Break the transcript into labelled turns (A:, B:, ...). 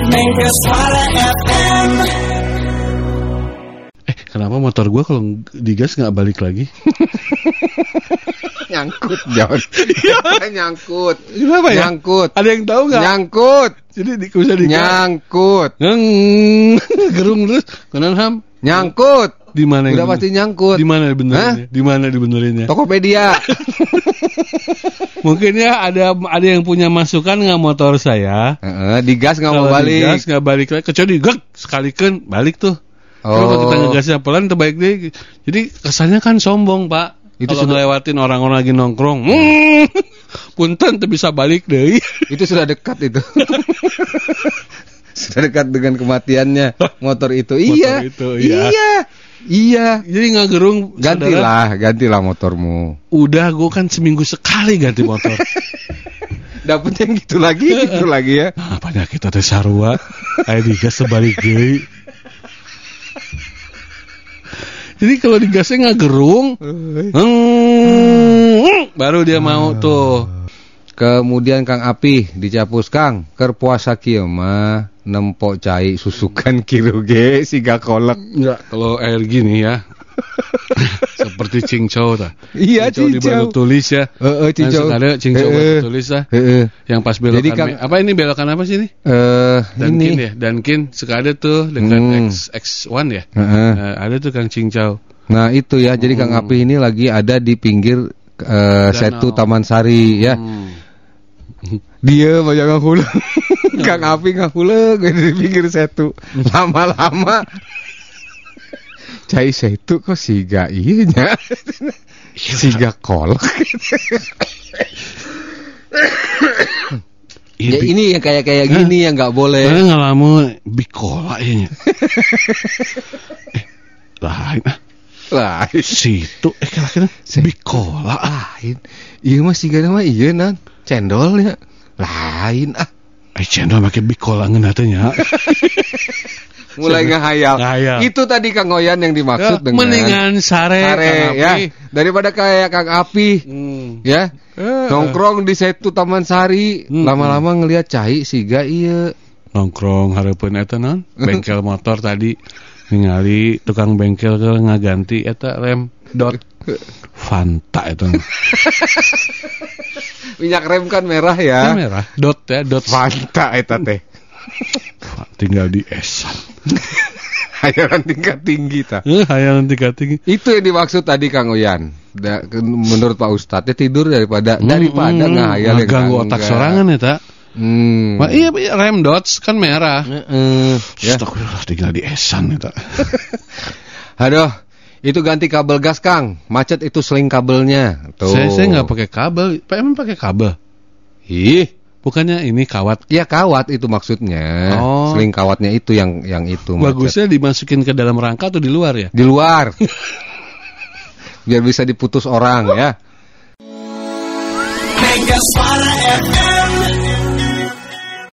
A: Nirwala FM.
B: Eh, kenapa motor gua kalau digas nggak balik lagi?
C: nyangkut John nyangkut
B: Kenapa Iya. ya?
C: nyangkut
B: Ada yang tahu nggak?
C: nyangkut
B: Jadi di, bisa digas.
C: nyangkut
B: Ngeng, gerung terus. Kanan ham.
C: nyangkut
B: Di mana? yang
C: udah
B: bener?
C: pasti nyangkut
B: Di mana dibenerinnya? Di mana dibenerinnya?
C: Tokopedia
B: Mungkin ya ada ada yang punya masukan nggak motor saya?
C: Heeh, digas Eh, nggak mau
B: Kalau
C: balik
B: digas nggak balik lagi. Kecuali digek sekalikan balik tuh. Kalau kita
C: oh
B: ngegasnya pelan terbaik deh. Jadi kesannya kan sombong, Pak.
C: Itu
B: Kalau
C: sudah-
B: ngelewatin orang-orang lagi nongkrong. "Hmm, punten tuh bisa balik deh.
C: itu sudah dekat itu sudah dekat dengan kematiannya motor itu iya
B: itu, iya.
C: iya iya
B: Jadi ngagerung saudara,
C: gantilah gantilah motormu
B: Udah gue kan seminggu sekali ganti motor.
C: dapetnya yang gitu lagi gitu lagi ya
B: nah, penyakit ada sarua. Ayo digas sebalik deui. Jadi kalau digasnya ngagerung, "Hmm," baru dia mau tuh.
C: Kemudian Kang Api dicapus Kang, keur puasa kieu mah nempok cai susukan kiru ge siga kolek.
B: Enggak, kalau air gini ya. Seperti cingcau tah.
C: Iya,
B: Cingcau di
C: cingcau.
B: Bandung tulis ya.
C: Heeh, cicau.
B: Ada cingcau Bandung
C: Heeh.
B: tulis ah. lah.
C: Heeh.
B: Yang pas belokan
C: Jadi kan-
B: me- apa ini belokan apa sih ini?
C: Eh,
B: Dunkin ya,
C: ini.
B: Dunkin suka ada tuh dengan
C: Hmm.
B: X X1 ya.
C: Heeh.
B: Nah, ada tuh Kang Cingcau.
C: Nah, itu ya. Jadi Kang Api ini lagi ada di pinggir eh, Setu Taman Sari ya.
B: Hmm.
C: Dia banyak ngahuleng. Kang Api ngahuleng di pinggir Setu. Lama-lama cai Setu kok siga ieu nya. Siga kolek. Ya, ini yang kayak kayak gini yang nggak boleh.
B: Saya ngalamun bikola ini. Eh, Lain ah,
C: Lain,
B: situ eh kira-kira bikola ah.
C: lain. Iya mas sih mah iya nan cendol ya. Lain ah.
B: Eh cendol pakai bikola ngeun hate nya.
C: Mulai ngehayal.
B: Ngehayal. Eh,
C: Itu tadi Kang Oyan yang dimaksud dengan
B: Mendingan sare,
C: Are,
B: Kang Api.
C: ya. Daripada kayak Kang Api
B: Hmm.
C: ya.
B: Eh,
C: Nongkrong di Setu Taman Sari,
B: Hmm.
C: lama-lama ngelihat cai siga iya.
B: nongkrong hareupeun eta naon? Bengkel motor tadi ningali tukang bengkel ke ngaganti eta rem dot Fanta itu
C: Minyak rem kan merah ya.
B: merah dot ya dot
C: Fanta eta teh.
B: tinggal di esan
C: Hayalan tingkat tinggi ta.
B: eh hayalan tingkat tinggi
C: Itu yang dimaksud tadi Kang Oyan. Da- ke- menurut Pak Ustadz ya tidur daripada daripada
B: Hmm,
C: ngahayal nah, yang
B: ganggu
C: enggak.
B: otak sorangan eta
C: Hmm.
B: Wah, iya iya, rem dots kan merah
C: Heeh, ya.
B: Astagfirullah tinggal di esan eta
C: Aduh, itu ganti kabel gas Kang. Macet itu seling kabelnya. Tuh.
B: saya saya nggak pakai kabel Pak, emang pakai kabel
C: Ih,
B: bukannya ini kawat
C: ya kawat itu maksudnya.
B: Oh.
C: Seling kawatnya itu yang yang itu macet.
B: bagusnya dimasukin ke dalam rangka atau di luar ya
C: Di luar. Biar bisa diputus orang ya.
A: Nirwala FM.